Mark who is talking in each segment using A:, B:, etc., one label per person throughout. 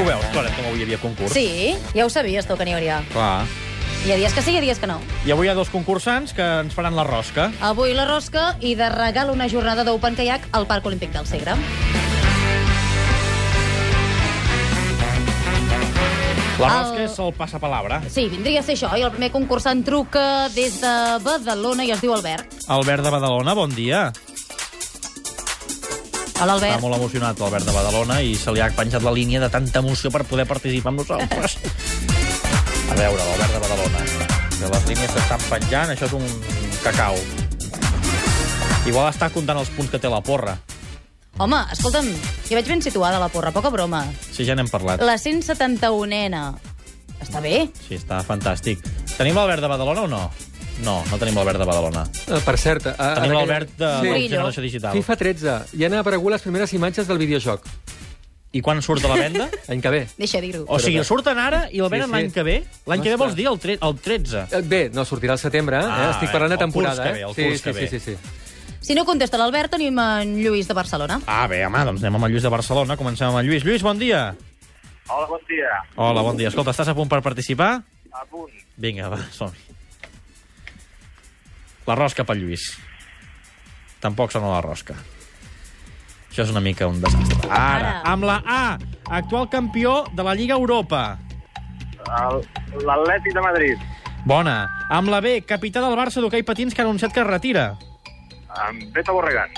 A: Ho veus, Clara, com avui hi havia concurs.
B: Sí, ja ho sabies tu, que n'hi hauria.
A: Clar.
B: Hi ha dies que sí, hi ha dies que no.
A: I avui hi ha dos concursants que ens faran la rosca.
B: Avui la rosca i de regal una jornada d'Open Kayak al Parc Olímpic del Segre.
A: La
B: El-
A: rosca és el passapalabra.
B: Sí, vindria a ser això. I el primer concursant truca des de Badalona i es diu Albert.
A: Albert de Badalona, bon dia.
B: Hola,
A: Està
B: Albert.
A: molt emocionat, l'Albert de Badalona, i se li ha penjat la línia de tanta emoció per poder participar amb nosaltres. A veure, l'Albert de Badalona. Que les línies s'estan penjant, això és un cacau. Igual està comptant els punts que té la porra,
B: Home, escolta'm, jo vaig ben situada a la porra, poca broma.
A: si ja n'hem parlat.
B: La 171ena. Està bé?
A: Sí, està fantàstic. Tenim l'Albert de Badalona o no? No, no tenim l'Albert de Badalona.
C: Eh, Per cert... A,
A: Tenim l'Albert de
C: Sí.
A: la Generació Digital.
C: FIFA 13. Ja han aparegut les primeres imatges del videojoc.
A: I quan surt de la venda?
C: Any que ve.
B: Deixa dir-ho.
A: O sigui, surten ara i el venen
C: Sí, sí.
A: l'any que ve? L'any que ve vols dir el, tre el 13.
C: Eh, Bé, no, sortirà al setembre.
A: Ah,
C: eh? Estic parlant
A: bé,
C: de
A: el curs
C: temporada.
A: que ve,
C: eh?
A: el
C: sí,
A: curs
C: sí,
A: que ve.
C: sí, sí, sí.
B: Si no contesta l'Albert, tenim en Lluís de Barcelona.
A: Ah, bé, home, doncs anem amb el Lluís de Barcelona. Comencem amb el Lluís. Lluís, bon dia.
D: Hola, bon dia.
A: Hola, bon dia. Escolta, estàs a punt per participar?
D: A punt.
A: Vinga, va, som -hi. La rosca pel Lluís. Tampoc sona la rosca. Això és una mica un desastre. Ara,
B: Ara.
A: amb la A, actual campió de la Lliga Europa.
D: El- L'Atlètic de Madrid.
A: Bona. Amb la B, capità del Barça d'hoquei patins que ha anunciat que es retira.
D: Amb Beto Borregan.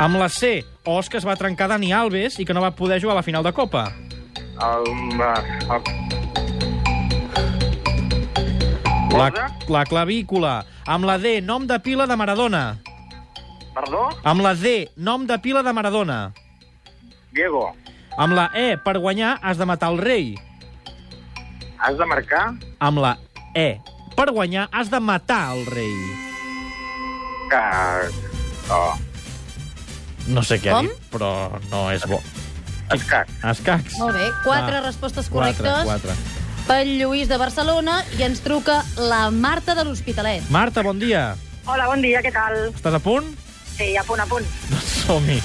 A: Amb la C, os que es va trencar Dani Alves i que no va poder jugar a la final de Copa.
D: El... eh, el...
A: La,
D: Cosa?
A: la clavícula. Amb la D, nom de pila de Maradona.
D: Perdó?
A: Amb la D, nom de pila de Maradona.
D: Diego.
A: Amb la E, per guanyar, has de matar el rei.
D: Has de marcar
A: Amb la E, per guanyar, has de matar el rei.
D: que... Oh,
A: No sé què ha
B: Com?
A: dit, però no és bo.
D: escac.
A: Escacs.
B: Molt bé, quatre
A: Ah,
B: respostes correctes
A: Quatre, quatre.
B: pel Lluís de Barcelona i ens truca la Marta de l'Hospitalet.
A: Marta, bon dia.
E: Hola, bon dia, què tal?
A: Estàs a punt?
E: Sí, a punt, a punt.
A: Doncs som-hi.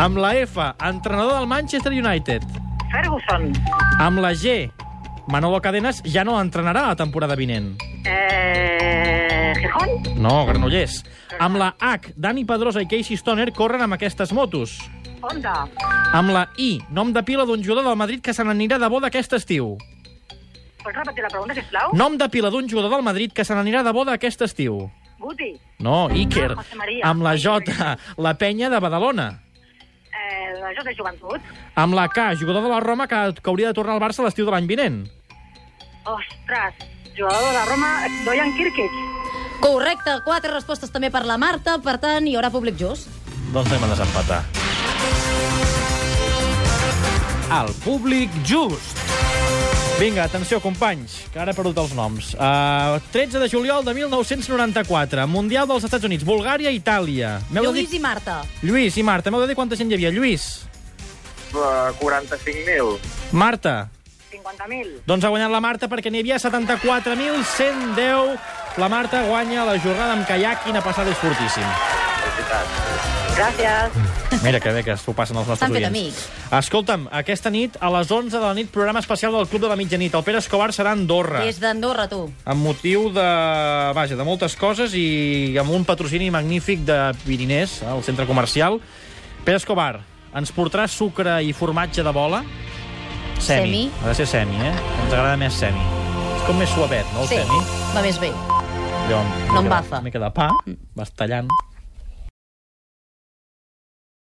A: Amb la F, entrenador del Manchester United.
E: Ferguson,
A: Amb la G, Manolo Cadenas ja no entrenarà la temporada vinent.
E: eh... Gijón,
A: No, Granollers. Amb la H, Dani Pedrosa i Casey Stoner corren amb aquestes motos.
E: Honda,
A: Amb la I, nom de pila d'un jugador del Madrid que se n'anirà de boda aquest estiu.
E: pots repetir la pregunta, sisplau?
A: Nom de pila d'un jugador del Madrid que se n'anirà de boda aquest estiu.
E: Guti,
A: No, Iker.
E: Ah, José María.
A: Amb la J, la penya de Badalona.
E: eh, la Jota Joventut,
A: Amb la K, jugador de la Roma que, que hauria de tornar al Barça l'estiu de l'any vinent.
E: ostres, jugador de la Roma, Dojan Kirkic.
B: Correcte, quatre respostes també per la Marta, per tant, hi haurà públic just.
A: Doncs anem a desempatar.
C: El públic just.
A: Vinga, atenció, companys, que ara he perdut els noms. Uh, 13 de juliol de 1994, Mundial dels Estats Units, Bulgària, Itàlia. M'heu de
B: Lluís
A: dir...
B: i Marta.
A: Lluís i Marta, m'heu de dir quanta gent hi havia. Lluís,
D: Eh, 45.000.
A: Marta.
E: 50.000.
A: Doncs ha guanyat la Marta perquè n'hi havia 74.110. La Marta guanya la jornada amb caiac. Quina passada és fortíssim.
E: Gràcies.
A: Mira que bé que s'ho passen els nostres
B: S'han fet
A: oients. Escolta'm, aquesta nit, a les 11 de la nit, programa especial del Club de la Mitjanit. El Pere Escobar serà a Andorra.
B: Des d'Andorra, tu.
A: amb motiu de, vaja, de moltes coses i amb un patrocini magnífic de Pirinès, al centre comercial. Pere Escobar, ens portarà sucre i formatge de bola?
B: Semi.
A: Ha de ser semi, eh? Ens agrada més semi. És com més suavet, no, el
B: sí,
A: semi?
B: va més bé.
A: Allò,
B: No
A: em
B: embafa.
A: Una mica de pa, vas tallant.